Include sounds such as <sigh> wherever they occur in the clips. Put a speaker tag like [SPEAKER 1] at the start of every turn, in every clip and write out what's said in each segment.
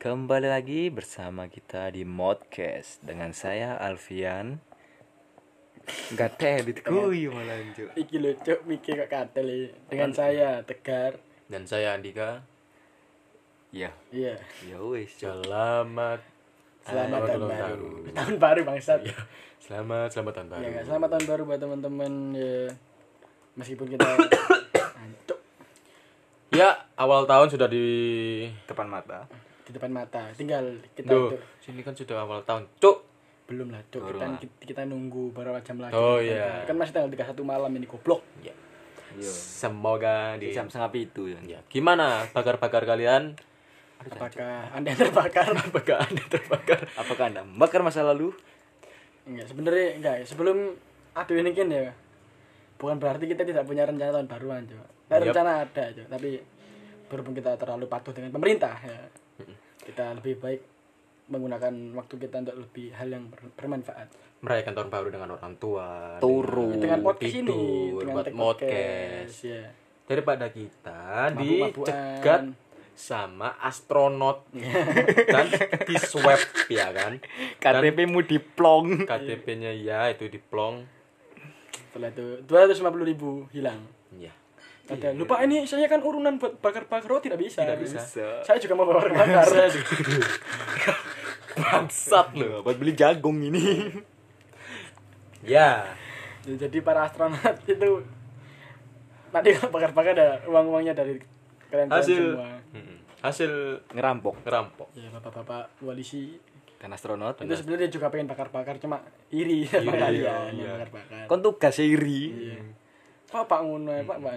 [SPEAKER 1] Kembali lagi bersama kita di Modcast dengan saya Alfian. Gak teh ditekui malah Cuk.
[SPEAKER 2] Iki lucu mikir kok katel ya. dengan
[SPEAKER 3] Kan-
[SPEAKER 2] saya Tegar.
[SPEAKER 3] dan saya Andika
[SPEAKER 1] Ya,
[SPEAKER 2] Iya.
[SPEAKER 1] ya wis Cuk.
[SPEAKER 3] selamat
[SPEAKER 2] Selamat
[SPEAKER 3] Selamat
[SPEAKER 2] tahun
[SPEAKER 3] ulang
[SPEAKER 2] baru.
[SPEAKER 3] tahun.
[SPEAKER 2] Tahun baru bangsat. Iya.
[SPEAKER 3] selamat selamat tahun baru
[SPEAKER 2] nggak? selamat tahun baru buat teman-teman ya. Meskipun
[SPEAKER 3] <coughs>
[SPEAKER 2] kita Antuk.
[SPEAKER 3] ya awal tahun sudah di
[SPEAKER 1] Depan mata.
[SPEAKER 2] di depan mata. Tinggal kita
[SPEAKER 3] Duh,
[SPEAKER 2] Cuk.
[SPEAKER 3] sini kan sudah awal tahun cuk
[SPEAKER 2] belum lah Cuk.
[SPEAKER 1] Baru
[SPEAKER 2] Kita,
[SPEAKER 1] lah.
[SPEAKER 2] kita, kita nunggu berapa jam lagi. Kita-
[SPEAKER 3] Oh, iya.
[SPEAKER 2] Kan masih tanggal 31 malam ini goblok.
[SPEAKER 3] ya.
[SPEAKER 2] Iya.
[SPEAKER 1] Yo.
[SPEAKER 3] semoga di
[SPEAKER 1] Jam setengah itu ya.
[SPEAKER 3] ya. gimana bakar-bakar kalian
[SPEAKER 2] Apakah Anda <laughs> terbakar?
[SPEAKER 3] apakah anda terbakar
[SPEAKER 1] Apakah Anda bakar masa lalu?
[SPEAKER 2] Enggak, sebenarnya enggak. ya. Sebelum aduh ini kan ya. Bukan berarti kita tidak punya rencana tahun baruan, Cuk. Nah,
[SPEAKER 3] Yap.
[SPEAKER 2] rencana ada, Cuk, tapi berhubung kita terlalu patuh dengan pemerintah ya. Kita lebih baik menggunakan waktu kita untuk lebih hal yang ber- bermanfaat.
[SPEAKER 3] merayakan tahun baru dengan orang tua
[SPEAKER 1] Turun.
[SPEAKER 2] Dengan
[SPEAKER 3] dengan-
[SPEAKER 2] podcast
[SPEAKER 3] Mm, tidur,
[SPEAKER 2] ini, dengan
[SPEAKER 3] buat
[SPEAKER 2] take
[SPEAKER 3] podcast
[SPEAKER 2] ya.
[SPEAKER 3] daripada kita
[SPEAKER 2] Mabuk-mabukan.
[SPEAKER 3] dicegat sama
[SPEAKER 2] <laughs>
[SPEAKER 3] astronot dan di swab ya kan
[SPEAKER 1] KTP-mu diplong.
[SPEAKER 3] KTP-nya ya itu diplong
[SPEAKER 2] Setelah itu 250 ribu hilang.
[SPEAKER 3] ya
[SPEAKER 2] Ada lupa ini saya kan urunan buat bakar-bakar oh tidak bisa.
[SPEAKER 3] Tidak bisa.
[SPEAKER 2] Saya juga mau
[SPEAKER 3] <laughs>
[SPEAKER 2] bakar-bakar.
[SPEAKER 1] Bangsat loh, buat beli jagung ini.
[SPEAKER 3] ya
[SPEAKER 2] Ya, jadi para astronot <laughs> itu nanti kalau bakar-bakar ada uang-uangnya dari kalian
[SPEAKER 3] hasil
[SPEAKER 2] semua.
[SPEAKER 3] Mm-mm. hasil
[SPEAKER 1] Ngerampok
[SPEAKER 3] ngerampok
[SPEAKER 2] Ya bapak-bapak koalisi
[SPEAKER 1] dan astronot.
[SPEAKER 2] itu sebenarnya dia juga pengen bakar-bakar cuma iri <laughs> sama
[SPEAKER 3] iya,
[SPEAKER 2] kalian yang bakar-bakar.
[SPEAKER 1] Kon tugas iri.
[SPEAKER 2] Iya. Kok Pak ngono ya, Pak, Pak.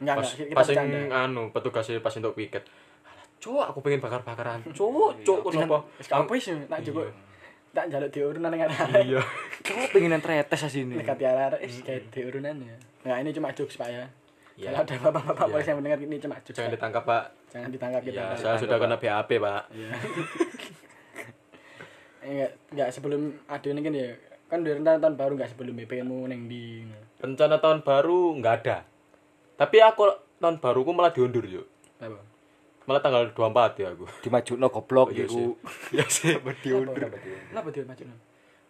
[SPEAKER 2] Enggak,
[SPEAKER 3] Hmm. pas
[SPEAKER 2] enggak, kita
[SPEAKER 3] pas yang
[SPEAKER 2] bercanda.
[SPEAKER 3] anu petugasnya pas untuk piket Alah, cuk aku pengen bakar bakaran cuk cuk kenapa
[SPEAKER 2] Wis apa sih nak cukup tak njaluk diurunan dengan arek.
[SPEAKER 3] iya Hmm.
[SPEAKER 1] Kamu pengenan tretes sih ini.
[SPEAKER 2] <laughs> Dekat arek is kayak diurunan ya. Nah, ini cuma jokes Pak ya.
[SPEAKER 3] Iya.
[SPEAKER 2] Kalau ada bapak-bapak
[SPEAKER 3] Iya.
[SPEAKER 2] polisi yang mendengar ini cuma jokes.
[SPEAKER 3] jangan
[SPEAKER 2] Pak.
[SPEAKER 3] ditangkap pak
[SPEAKER 2] Jangan ditangkap kita.
[SPEAKER 3] ya
[SPEAKER 2] Pak.
[SPEAKER 3] saya sudah kena BAP pak
[SPEAKER 2] <laughs> Iya. Enggak, enggak Eh, sebelum ada ini kan ya. Kan udah rencana tahun baru enggak sebelum pengenmu neng di.
[SPEAKER 3] rencana tahun baru nggak ada tapi aku tahun baruku malah diundur yuk
[SPEAKER 2] Apa?
[SPEAKER 3] malah tanggal 24 ya aku
[SPEAKER 1] Dimajuno goblok
[SPEAKER 3] Iya
[SPEAKER 1] <laughs>
[SPEAKER 3] sih.
[SPEAKER 1] iku.
[SPEAKER 3] ya sih
[SPEAKER 2] Diundur. Kenapa dia maju?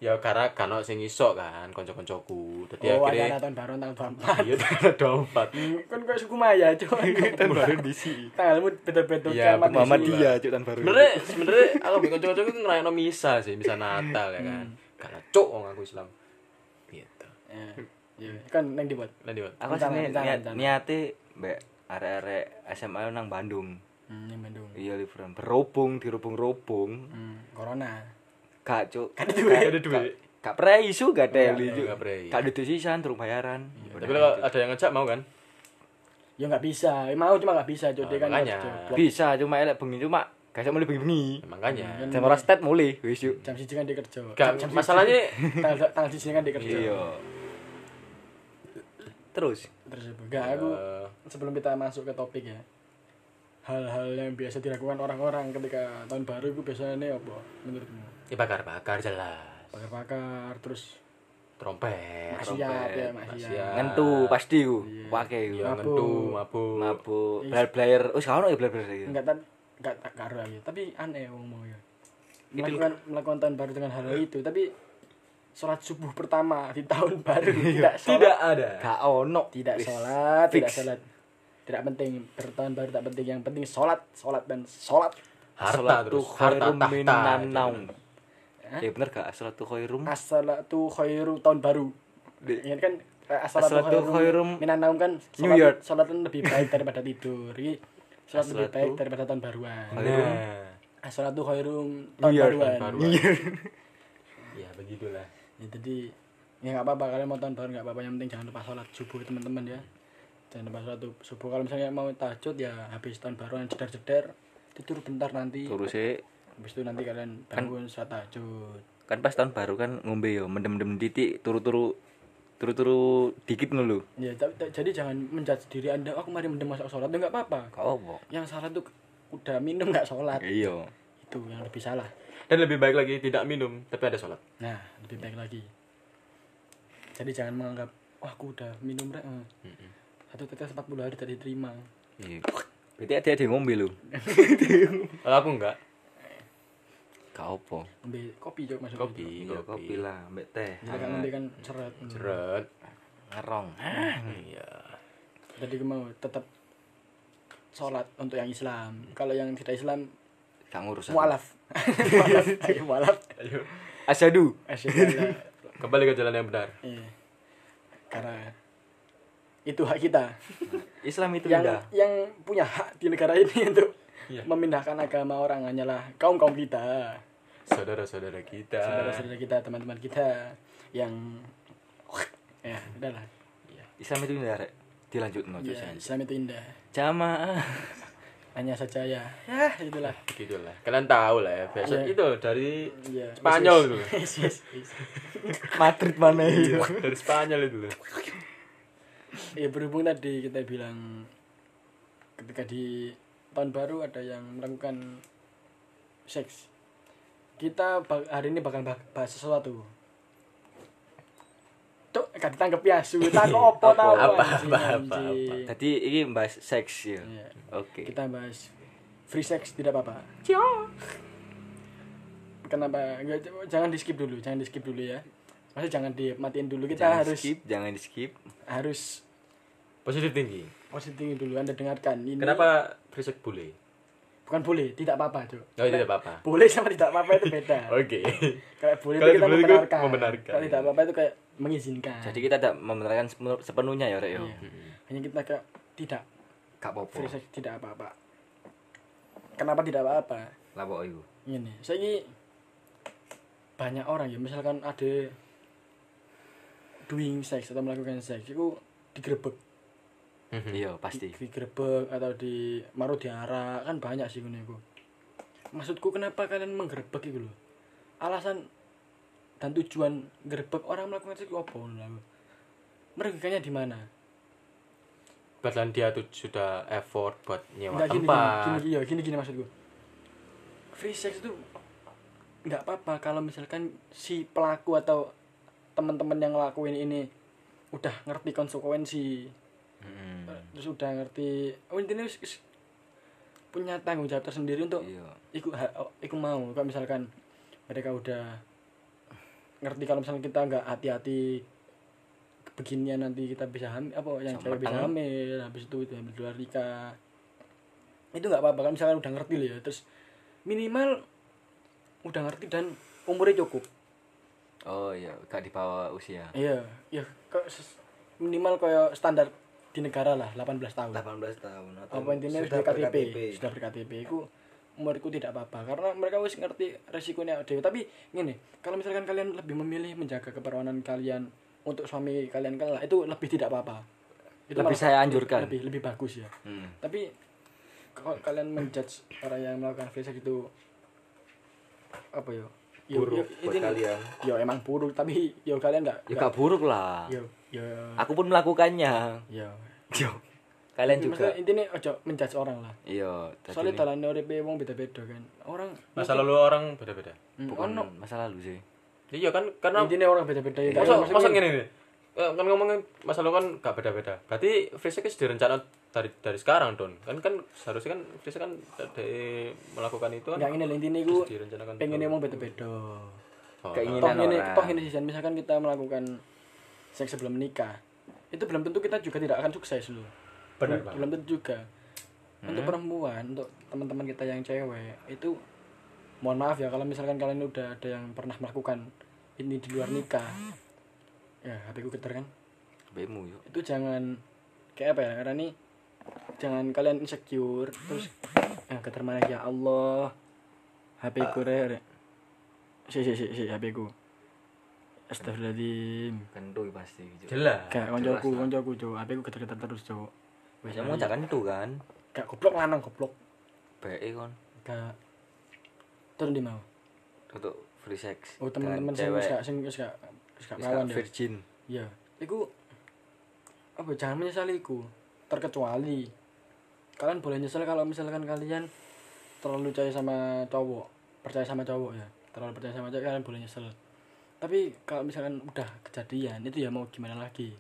[SPEAKER 3] ya karena kano sing iso kan konco-koncoku tadi
[SPEAKER 2] Oh,
[SPEAKER 3] akhirnya
[SPEAKER 2] ada tahun baru tanggal 24.
[SPEAKER 3] iya tanggal 24
[SPEAKER 2] Kan kayak suku Maya, coy.
[SPEAKER 1] Tahun baru DC.
[SPEAKER 2] Tanggalmu beda-beda
[SPEAKER 3] Iya,
[SPEAKER 2] kiamat
[SPEAKER 3] Mama
[SPEAKER 2] di sini.
[SPEAKER 3] dia,
[SPEAKER 1] cuk tahun baru.
[SPEAKER 3] <laughs> sebenarnya sebenarnya aku bikin cocok itu ngerayain misa sih misa Natal ya kan karena cok wong aku Islam gitu
[SPEAKER 2] Ya. Iya. Kan neng dibuat.
[SPEAKER 3] lah dia
[SPEAKER 1] Aku
[SPEAKER 2] Rencana,
[SPEAKER 1] sini
[SPEAKER 2] rencana,
[SPEAKER 1] niat
[SPEAKER 2] rencana.
[SPEAKER 1] niate mbek arek-arek SMA nang Bandung.
[SPEAKER 2] Hmm, neng Bandung.
[SPEAKER 1] Iya liburan berobong dirobong-robong.
[SPEAKER 2] Hmm, corona.
[SPEAKER 1] Gak cuk. Gak
[SPEAKER 3] ada duit
[SPEAKER 1] Gak pernah isu gak ada
[SPEAKER 3] Iya,
[SPEAKER 1] lucu.
[SPEAKER 3] nggak prei. Iya,
[SPEAKER 1] Gak ada sisan terus bayaran. gitu.
[SPEAKER 3] tapi kalau ada yang ngejak mau kan
[SPEAKER 2] Ya enggak bisa. Ya, Mau cuma enggak bisa, coy. Dia
[SPEAKER 3] Ah,
[SPEAKER 2] kan
[SPEAKER 3] makanya.
[SPEAKER 2] harus
[SPEAKER 1] Udah.
[SPEAKER 2] diblok.
[SPEAKER 1] Bisa cuma elek bengi cuma gak iso mulih bengi-bengi.
[SPEAKER 3] Ya,
[SPEAKER 2] Iya.
[SPEAKER 3] makanya
[SPEAKER 1] Jam ora stat mulih wis yuk.
[SPEAKER 2] Jam 1 kan dia kerja.
[SPEAKER 3] Gak,
[SPEAKER 2] Jam- jam
[SPEAKER 3] masalahnya-
[SPEAKER 2] 1. tanggal tanggal 1 kan dia kerja.
[SPEAKER 1] Iya. Terus
[SPEAKER 2] Terus apa? enggak aku
[SPEAKER 3] eh,
[SPEAKER 2] sebelum kita masuk ke topik ya hal-hal yang biasa dilakukan orang-orang ketika tahun baru itu biasanya apa menurutmu
[SPEAKER 3] ya bakar-bakar jelas
[SPEAKER 2] bakar-bakar terus
[SPEAKER 3] trompet
[SPEAKER 2] maksiat ya
[SPEAKER 3] maksiat.
[SPEAKER 2] maksiat
[SPEAKER 1] ngentu pasti ku. Pake ku.
[SPEAKER 2] Mabuk.
[SPEAKER 3] ya ngentu mabuk
[SPEAKER 1] Mabuk, blar-blar. Wis gak ono ya blar-blar iki.
[SPEAKER 2] enggak tak enggak tak karo lagi tapi aneh wong mau ya
[SPEAKER 1] Gitu.
[SPEAKER 2] melakukan melakukan tahun baru dengan hal
[SPEAKER 1] Iya.
[SPEAKER 2] itu tapi sholat subuh pertama di
[SPEAKER 1] <laughs>
[SPEAKER 2] tahun baru tidak
[SPEAKER 3] tidak
[SPEAKER 2] sholat
[SPEAKER 3] ada
[SPEAKER 1] Gak ono.
[SPEAKER 2] tidak
[SPEAKER 1] Wis.
[SPEAKER 2] sholat tidak
[SPEAKER 1] Iya. Fix.
[SPEAKER 2] sholat tidak penting bertahun baru tak penting yang penting sholat sholat dan sholat
[SPEAKER 3] harta
[SPEAKER 1] Salatu
[SPEAKER 3] terus harta
[SPEAKER 1] khairum
[SPEAKER 3] tahta
[SPEAKER 1] minan
[SPEAKER 3] gitu.
[SPEAKER 1] naum. Ya bener gak? Asalatu khairum.
[SPEAKER 2] Ah, Assalatu khairu tahun baru.
[SPEAKER 1] Di-
[SPEAKER 2] Iya kan eh, assalatu
[SPEAKER 1] Assalatu khairum
[SPEAKER 2] khairum minan naum kan
[SPEAKER 1] New
[SPEAKER 2] sholat-
[SPEAKER 1] Year.
[SPEAKER 2] Sholat kan lebih baik daripada tidur. Ini sholat lebih
[SPEAKER 1] Assalatu-
[SPEAKER 2] baik daripada tahun baruan.
[SPEAKER 3] nah
[SPEAKER 2] Assalatu khairum tahun
[SPEAKER 1] Year,
[SPEAKER 2] baruan.
[SPEAKER 3] baru ya begitulah
[SPEAKER 2] Ya, jadi ya nggak apa-apa kalian mau tahun baru nggak apa-apa yang penting jangan lupa sholat subuh teman-teman ya. Jangan lupa sholat tu- subuh kalau misalnya mau tahajud ya habis tahun baruan ceder-ceder tidur bentar nanti.
[SPEAKER 1] Terus sih
[SPEAKER 2] Habis itu nanti kalian bangun sholat tahajud.
[SPEAKER 1] kan pas tahun baru kan ngombe yo mendem-mendem titik turu-turu turu-turu dikit ngono lho.
[SPEAKER 2] Ya, tapi- jadi jangan menjudge diri Anda, "Oh, aku mari mendem masuk sholat, enggak apa-apa.
[SPEAKER 1] Gak apa.
[SPEAKER 2] yang salah tuh udah minum nggak sholat
[SPEAKER 1] Iya.
[SPEAKER 2] itu yang lebih salah
[SPEAKER 3] dan lebih baik lagi tidak minum tapi ada sholat
[SPEAKER 2] nah lebih baik lagi jadi jangan menganggap wah aku udah minum rek eh." satu tetes 40 hari tidak diterima
[SPEAKER 1] Iya. Berarti ada yang ngombe lho.
[SPEAKER 3] Kalau aku enggak
[SPEAKER 4] Gak opo.
[SPEAKER 2] Ambil kopi cok masuk
[SPEAKER 3] Kopi.
[SPEAKER 1] Iya, kopi Iya. lah, mbak teh.
[SPEAKER 2] Jadi kan nanti kan seret. Hmm.
[SPEAKER 3] Jeret.
[SPEAKER 4] Ngerong.
[SPEAKER 1] Ah.
[SPEAKER 3] Iya.
[SPEAKER 2] Jadi gue mau tetap sholat untuk yang Islam. Kalau yang tidak Islam
[SPEAKER 4] Gak ngurus. aku.
[SPEAKER 2] mualaf. mualaf, ayo mualaf.
[SPEAKER 3] Ayo.
[SPEAKER 4] Asyadu.
[SPEAKER 2] Asyhadu alla-
[SPEAKER 3] Kembali ke jalan yang benar.
[SPEAKER 2] Iya. Karena itu hak kita.
[SPEAKER 4] Islam itu
[SPEAKER 2] yang
[SPEAKER 4] indah.
[SPEAKER 2] yang punya hak di negara ini <laughs> untuk
[SPEAKER 3] Iya.
[SPEAKER 2] memindahkan agama orang hanyalah kaum-kaum kita.
[SPEAKER 3] Saudara-saudara kita.
[SPEAKER 2] Saudara-saudara kita, teman-teman kita yang ya, udahlah.
[SPEAKER 4] Islam itu indah, Rek. Dilanjut no,
[SPEAKER 2] Ya,
[SPEAKER 4] Jamaah.
[SPEAKER 2] Islam itu indah.
[SPEAKER 1] <laughs>
[SPEAKER 2] Hanya saja ya, ya itulah.
[SPEAKER 3] Gitulah. Kalian tahu lah ya. Biasa
[SPEAKER 2] Iya.
[SPEAKER 3] itu dari
[SPEAKER 2] Iya.
[SPEAKER 3] Spanyol
[SPEAKER 2] Yes,
[SPEAKER 3] tuh.
[SPEAKER 2] <laughs> yes, yes, yes.
[SPEAKER 4] Madrid mana itu?
[SPEAKER 3] Iya. dari Spanyol itu loh.
[SPEAKER 2] ya berhubung tadi kita bilang ketika di tahun baru ada yang melakukan seks kita bak- hari ini bakal bah- bahas sesuatu tuh gak ditangkep ya sudah kok
[SPEAKER 3] <laughs>
[SPEAKER 2] opo
[SPEAKER 4] Apa,
[SPEAKER 2] tahu
[SPEAKER 4] apa,
[SPEAKER 2] anjing,
[SPEAKER 3] apa, apa,
[SPEAKER 2] anjing.
[SPEAKER 4] Tadi ini bahas seks ya.
[SPEAKER 2] Iya.
[SPEAKER 4] Oke.
[SPEAKER 2] kita bahas free sex tidak apa-apa kenapa Nggak, j- jangan di skip dulu jangan di skip dulu ya maksudnya jangan dimatiin dulu kita
[SPEAKER 4] Jangan
[SPEAKER 2] harus
[SPEAKER 4] skip, jangan di skip.
[SPEAKER 2] harus
[SPEAKER 3] Positif tinggi.
[SPEAKER 2] positif dulu anda dengarkan ini
[SPEAKER 3] Kenapa Frisek boleh?
[SPEAKER 2] bukan boleh tidak apa-apa tuh
[SPEAKER 3] Oh, tidak apa-apa.
[SPEAKER 2] boleh sama tidak apa-apa itu beda
[SPEAKER 3] <laughs>
[SPEAKER 2] <laughs>
[SPEAKER 3] Oke.
[SPEAKER 2] kayak boleh itu
[SPEAKER 3] Kalau
[SPEAKER 2] kita
[SPEAKER 3] boleh itu
[SPEAKER 2] membenarkan,
[SPEAKER 3] membenarkan.
[SPEAKER 2] kalau tidak apa-apa itu kayak mengizinkan
[SPEAKER 4] Jadi kita tidak membenarkan sepenu- sepenuhnya ya, Rek. yo.
[SPEAKER 2] Iya. hanya kita kayak tidak
[SPEAKER 4] Gak apa-apa.
[SPEAKER 2] free sex tidak apa-apa kenapa tidak apa-apa
[SPEAKER 4] Lah pokok iku.
[SPEAKER 2] ini saya banyak orang ya misalkan ada doing sex atau melakukan seks itu digerebek
[SPEAKER 4] Iya, pasti.
[SPEAKER 2] digerebek atau di maru diarak kan banyak sih ini iku. maksudku kenapa kalian menggerebek itu loh alasan dan tujuan gerebek orang melakukan seks itu apa ngono lho aku. merugikannya di mana
[SPEAKER 3] Padahal dia tuh sudah effort buat nyewa
[SPEAKER 2] Enggak gini, gini,
[SPEAKER 3] tempat.
[SPEAKER 2] gini, iya, gini, gini maksudku. Free sex itu nggak apa-apa kalau misalkan si pelaku atau teman-teman yang ngelakuin ini udah ngerti konsekuensi,
[SPEAKER 4] Mm.
[SPEAKER 2] terus udah ngerti, oh intinya wis- wis punya tanggung jawab tersendiri untuk
[SPEAKER 4] Iya.
[SPEAKER 2] ikut ikut oh, mau kalau misalkan mereka udah ngerti kalau misalkan kita nggak hati-hati beginian nanti kita bisa hamil apa yang
[SPEAKER 4] Sama
[SPEAKER 2] cewek bisa
[SPEAKER 4] tangan.
[SPEAKER 2] hamil habis itu itu hamil di luar nikah itu nggak apa-apa kan misalkan udah ngerti loh ya terus minimal udah ngerti dan umurnya cukup
[SPEAKER 4] Oh iya, gak di bawah usia.
[SPEAKER 2] iya iya kok ses- minimal kayak standar di negara lah 18 tahun
[SPEAKER 1] 18 tahun atau
[SPEAKER 2] apa intinya sudah KTP sudah berKTP itu menurutku tidak apa-apa karena mereka wis ngerti resikonya dewe tapi gini kalau misalkan kalian lebih memilih menjaga keperawanan kalian untuk suami kalian kalah itu lebih tidak apa-apa
[SPEAKER 4] Lebih saya anjurkan.
[SPEAKER 2] lebih lebih bagus ya
[SPEAKER 4] Mm.
[SPEAKER 2] tapi kalau kalian menjudge orang yang melakukan free sex itu apa yo yo,
[SPEAKER 1] Buruk buat
[SPEAKER 2] ini-
[SPEAKER 1] kalian.
[SPEAKER 2] yo emang buruk tapi yo kalian nggak
[SPEAKER 4] Ya gak buruk lah.
[SPEAKER 2] yo yo
[SPEAKER 4] Aku pun melakukannya.
[SPEAKER 2] yo
[SPEAKER 4] Yo. Kalian
[SPEAKER 2] Iya. Maksudnya
[SPEAKER 4] juga.
[SPEAKER 2] intinya ojo menjudge orang lah
[SPEAKER 4] Iya, tadi
[SPEAKER 2] soalnya
[SPEAKER 4] ini
[SPEAKER 2] dalam uripe wong beda-beda kan orang
[SPEAKER 3] Masa lalu orang beda-beda.
[SPEAKER 2] Hmm,
[SPEAKER 4] bukan
[SPEAKER 2] ono
[SPEAKER 4] masa lalu sih.
[SPEAKER 3] Iya kan karena
[SPEAKER 2] intinya orang beda-beda ya
[SPEAKER 3] masa
[SPEAKER 2] Maksudnya
[SPEAKER 3] masa gini nih Eh, kan ngomongin masa lalu kan gak beda-beda berarti Frisek kan direncana dari dari sekarang don kan kan seharusnya kan Frisek kan dari melakukan itu
[SPEAKER 2] nggak
[SPEAKER 3] kan
[SPEAKER 2] ini lah, intinya iku
[SPEAKER 3] terus direncanakan
[SPEAKER 2] pengen emang beda-beda
[SPEAKER 3] Oh,
[SPEAKER 4] Keinginan
[SPEAKER 2] toh ini
[SPEAKER 4] orang.
[SPEAKER 2] toh ini sih Jan, misalkan kita melakukan seks sebelum menikah itu belum tentu kita juga tidak akan sukses loh
[SPEAKER 3] Benar,
[SPEAKER 2] Belum-
[SPEAKER 3] Bang.
[SPEAKER 2] belum tentu juga untuk
[SPEAKER 4] Hmm?
[SPEAKER 2] perempuan untuk teman-teman kita yang cewek itu mohon maaf ya kalau misalkan kalian udah ada yang pernah melakukan ini di luar nikah ya HP ku geter kan
[SPEAKER 4] Bemu yuk.
[SPEAKER 2] itu jangan kayak apa ya karena ini jangan kalian insecure terus ya getar mana ya Allah HP ku re re. si si si si HP ku Astagfirullahaladzim
[SPEAKER 4] Kentui pasti. Cuk.
[SPEAKER 3] jelas
[SPEAKER 2] Gak, koncoku, koncoku, Cuk. HP ku getar-getar terus, Cuk. Wes,
[SPEAKER 4] Kamu
[SPEAKER 2] ayo.
[SPEAKER 4] gak kentu kan?
[SPEAKER 2] Gak goblok lanang goblok.
[SPEAKER 4] BE kon
[SPEAKER 2] Gak turun di mau.
[SPEAKER 4] untuk free sex.
[SPEAKER 2] Oh,
[SPEAKER 4] dengan
[SPEAKER 2] teman-teman sing
[SPEAKER 4] cewek.
[SPEAKER 2] wis gak sing wis gak wis gak
[SPEAKER 4] Wis
[SPEAKER 2] melawan
[SPEAKER 4] gak
[SPEAKER 2] ya.
[SPEAKER 4] virgin.
[SPEAKER 2] Iya. Iku apa jangan menyesali iku. Terkecuali kalian boleh nyesel kalau misalkan kalian terlalu percaya sama cowok, percaya sama cowok ya. Terlalu percaya sama cowok kalian boleh nyesel. Tapi kalau misalkan udah kejadian itu ya mau gimana lagi?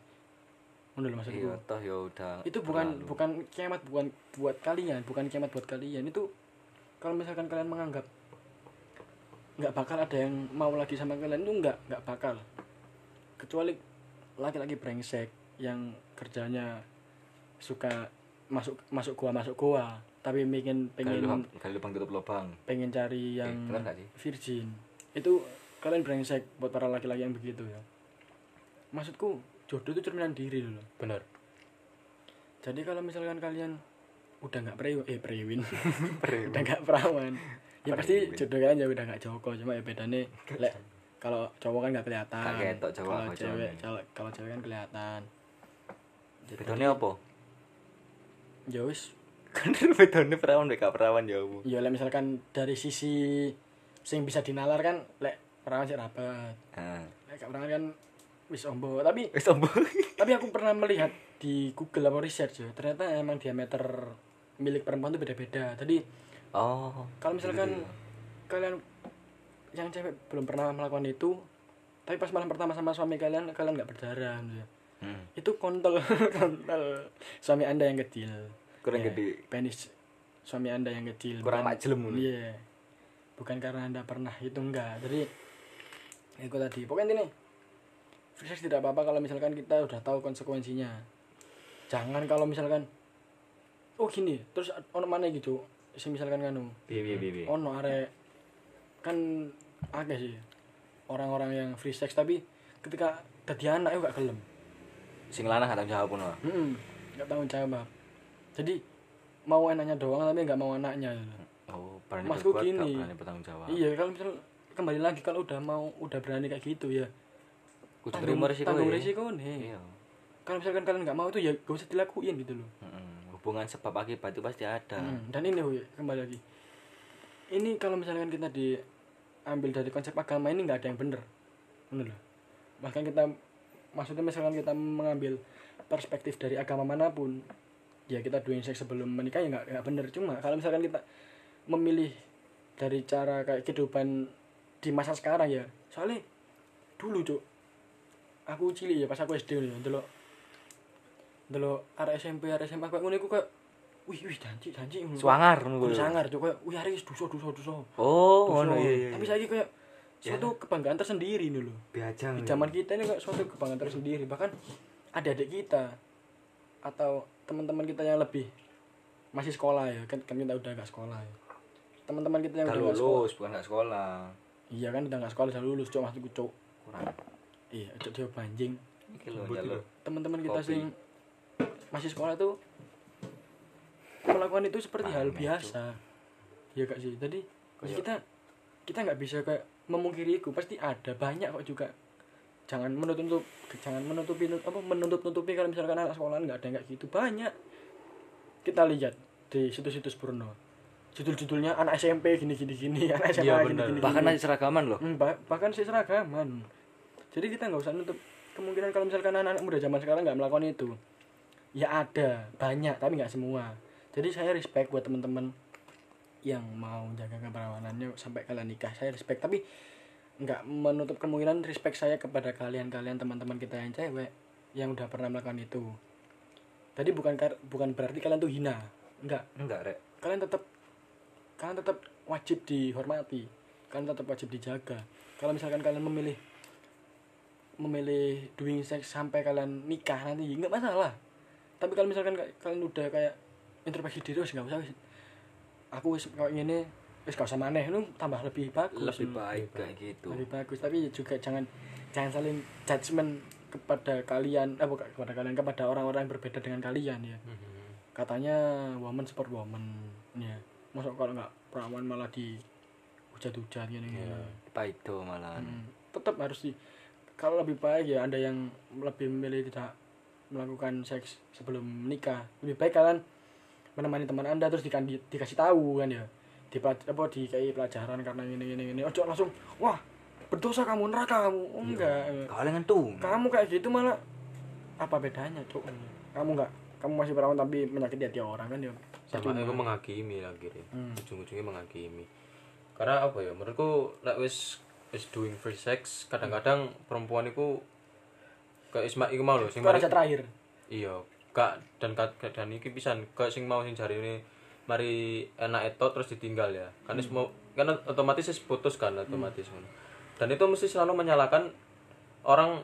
[SPEAKER 2] Mundur maksudku.
[SPEAKER 4] Iya, toh ya udah.
[SPEAKER 2] itu bukan
[SPEAKER 4] berlalu.
[SPEAKER 2] bukan kiamat bukan buat kalian bukan kiamat buat kalian itu kalau misalkan kalian menganggap nggak bakal ada yang mau lagi sama kalian tuh nggak nggak bakal kecuali laki-laki brengsek yang kerjanya suka masuk masuk gua masuk gua tapi pengen
[SPEAKER 1] Gali lubang,
[SPEAKER 2] pengen
[SPEAKER 1] gali lubang tutup lubang.
[SPEAKER 2] pengen cari yang
[SPEAKER 1] Eh, bener nggak sih?
[SPEAKER 2] virgin itu kalian brengsek buat para laki-laki yang begitu ya maksudku jodoh itu cerminan diri loh
[SPEAKER 3] bener
[SPEAKER 2] jadi kalau misalkan kalian udah nggak prewin eh
[SPEAKER 1] <laughs>
[SPEAKER 2] prewin udah nggak perawan ya pasti jodoh kalian ya udah nggak joko cuma ya bedanya lek kalau cowok kan nggak kelihatan
[SPEAKER 1] Nggak ketok cowok
[SPEAKER 2] kalau
[SPEAKER 1] sama
[SPEAKER 2] cewek
[SPEAKER 1] cowoknya.
[SPEAKER 2] kalau- kalau cewek kan kelihatan
[SPEAKER 1] Bedone
[SPEAKER 2] <laughs>
[SPEAKER 1] apa?
[SPEAKER 2] ya wis
[SPEAKER 1] Kan bedone perawan mek gak perawan ya Bu.
[SPEAKER 2] ya lek misalkan dari sisi sing bisa dinalar kan lek perawan sih rapat
[SPEAKER 1] Heeh.
[SPEAKER 2] lek gak perawan kan wis ombo tapi
[SPEAKER 1] Wis ombo.
[SPEAKER 2] tapi aku pernah melihat di Google apa research ya ternyata emang diameter milik perempuan itu beda-beda jadi
[SPEAKER 1] <laughs> Oh.
[SPEAKER 2] kalau misalkan kalian yang cewek belum pernah melakukan itu tapi pas malam pertama sama suami kalian kalian nggak berdarah gitu ya.
[SPEAKER 1] Hmm.
[SPEAKER 2] itu kontol <laughs> kontol suami anda yang kecil
[SPEAKER 1] Kurang
[SPEAKER 2] Ya,
[SPEAKER 1] gede.
[SPEAKER 2] penis suami anda yang kecil
[SPEAKER 1] Kurang
[SPEAKER 2] Bukan-
[SPEAKER 1] majelem gitu.
[SPEAKER 2] iya bukan karena anda pernah itu enggak jadi ya itu tadi pokoknya ini Fisik tidak apa-apa kalau misalkan kita udah tahu konsekuensinya jangan kalau misalkan oh gini terus ono mana gitu sing misalkan kanu
[SPEAKER 1] Piye piye piye.
[SPEAKER 2] ono arek kan akeh sih orang-orang yang free sex tapi ketika dadi anak itu gak gelem
[SPEAKER 1] Sing lanang gak tau jawab ngono.
[SPEAKER 2] Mm-mm, gak tanggung jawab jadi mau enaknya doang tapi gak mau anaknya gitu.
[SPEAKER 1] Oh, berani
[SPEAKER 2] Maksudku
[SPEAKER 1] berbuat gak
[SPEAKER 2] gini.
[SPEAKER 1] berani bertanggung jawab.
[SPEAKER 2] iya kalau misal kembali lagi kalau udah mau udah berani kayak gitu ya
[SPEAKER 1] Kudu
[SPEAKER 2] tanggung,
[SPEAKER 1] terima resiko.
[SPEAKER 2] tanggung
[SPEAKER 1] ya.
[SPEAKER 2] resiko nih
[SPEAKER 1] Iya.
[SPEAKER 2] kalau misalkan kalian gak mau itu ya gak usah dilakuin gitu loh
[SPEAKER 1] Mm-mm. Hmm. Hubungan sebab akibat itu pasti ada.
[SPEAKER 2] Hmm, dan ini Huy, kembali lagi ini kalau misalkan kita diambil dari konsep agama ini nggak ada yang benar benar loh bahkan kita maksudnya misalkan kita mengambil perspektif dari agama manapun ya kita doing seks sebelum menikah ya nggak nggak benar cuma kalau misalkan kita memilih dari cara kayak kehidupan di masa sekarang ya soalnya dulu cuk aku cilik ya pas aku SD dulu dulu dulu arek SMP arek SMA kayak ngono iku kayak wih wih janji janji ngono.
[SPEAKER 1] Suangar ngono
[SPEAKER 2] Kudu
[SPEAKER 1] kuwi.
[SPEAKER 2] sangar cuk kayak wih arek duso duso duso
[SPEAKER 1] Oh,
[SPEAKER 2] Duso.
[SPEAKER 1] ngono iya. iya,
[SPEAKER 2] tapi
[SPEAKER 1] iya.
[SPEAKER 2] saiki kayak suatu kebanggaan tersendiri nih loh
[SPEAKER 1] Biajang.
[SPEAKER 2] di
[SPEAKER 1] iya.
[SPEAKER 2] zaman kita ini kayak suatu kebanggaan tersendiri bahkan adik-adik kita atau teman-teman kita yang lebih masih sekolah ya kan kan kita udah gak sekolah ya teman-teman kita yang
[SPEAKER 1] Gak
[SPEAKER 2] udah gak sekolah
[SPEAKER 1] lulus, bukan gak sekolah.
[SPEAKER 2] iya kan udah gak sekolah udah lulus cok maksudku cok
[SPEAKER 1] Kurang.
[SPEAKER 2] iya cok dia banjing
[SPEAKER 1] Iki lho njaluk.
[SPEAKER 2] teman-teman kita
[SPEAKER 1] Kopi.
[SPEAKER 2] sing masih sekolah tuh melakukan itu seperti hal
[SPEAKER 1] Aneh,
[SPEAKER 2] biasa ya kak sih jadi kita kita nggak bisa kayak memungkiri itu pasti ada banyak kok juga jangan menutup jangan menutupi apa menutup nutupi kalau misalkan anak sekolahan nggak ada yang kayak gitu banyak kita lihat di situs-situs porno judul-judulnya anak SMP gini gini gini anak SMA
[SPEAKER 3] Iya,
[SPEAKER 2] gini
[SPEAKER 3] bener.
[SPEAKER 2] gini
[SPEAKER 1] Bahkan
[SPEAKER 2] gini.
[SPEAKER 1] aja seragaman loh.
[SPEAKER 2] Hmm, bah- bahkan sih seragaman. Jadi kita nggak usah nutup kemungkinan kalau misalkan anak-anak muda zaman sekarang nggak melakukan itu. Ya ada, banyak tapi nggak semua. Jadi saya respect buat teman-teman yang mau jaga keperawanannya sampai kalian nikah. Saya respect tapi nggak menutup kemungkinan respect saya kepada kalian-kalian teman-teman kita yang cewek yang udah pernah melakukan itu. Tadi bukan kar- bukan berarti kalian tuh hina. Enggak,
[SPEAKER 1] Enggak, Rek.
[SPEAKER 2] kalian tetap kalian tetap wajib dihormati kalian tetap wajib dijaga kalau misalkan kalian memilih memilih doing sex sampai kalian nikah nanti nggak masalah tapi kalau misalkan ka- kalian udah kayak introspeksi diri wis nggak usah wis aku wis kayak gini wis gak usah maneh lu tambah lebih bagus Hmm.
[SPEAKER 1] Lebih baik kayak gitu.
[SPEAKER 2] lebih bagus tapi ya juga jangan jangan saling judgement kepada kalian eh bukan kepada kalian kepada orang-orang yang berbeda dengan kalian ya
[SPEAKER 3] Mhm.
[SPEAKER 2] katanya woman support woman ya masuk kalau nggak perawan malah di hujat-hujat gini gini
[SPEAKER 1] Baik tuh malahan.
[SPEAKER 2] Hmm. tetap harus di kalau lebih baik ya ada yang lebih memilih tidak melakukan seks sebelum menikah lebih baik kalian menemani teman anda terus dikandi- dikasih tahu kan ya di apa di kayak pelajaran karena ini ini ini ojo langsung wah berdosa kamu neraka kamu Oh, enggak
[SPEAKER 1] Kalengan tuh.
[SPEAKER 2] kamu kayak gitu malah apa bedanya cuk kamu nggak kamu masih perawan tapi menyakiti hati orang kan ya
[SPEAKER 3] sama
[SPEAKER 2] Percuma.
[SPEAKER 3] aku menghakimi lagi ya.
[SPEAKER 2] Hmm.
[SPEAKER 3] ujung-ujungnya menghakimi karena apa ya menurutku lek wis wis doing free sex kadang-kadang perempuan itu kayak isma iku mau lho sing
[SPEAKER 2] Itu raja
[SPEAKER 3] mari
[SPEAKER 2] terakhir
[SPEAKER 3] iya kak dan kak kak- dan iki pisan kayak sing mau sing jari ini mari enak eto terus ditinggal ya kan wis mau kan otomatis is putus kan otomatis dan itu mesti selalu menyalahkan orang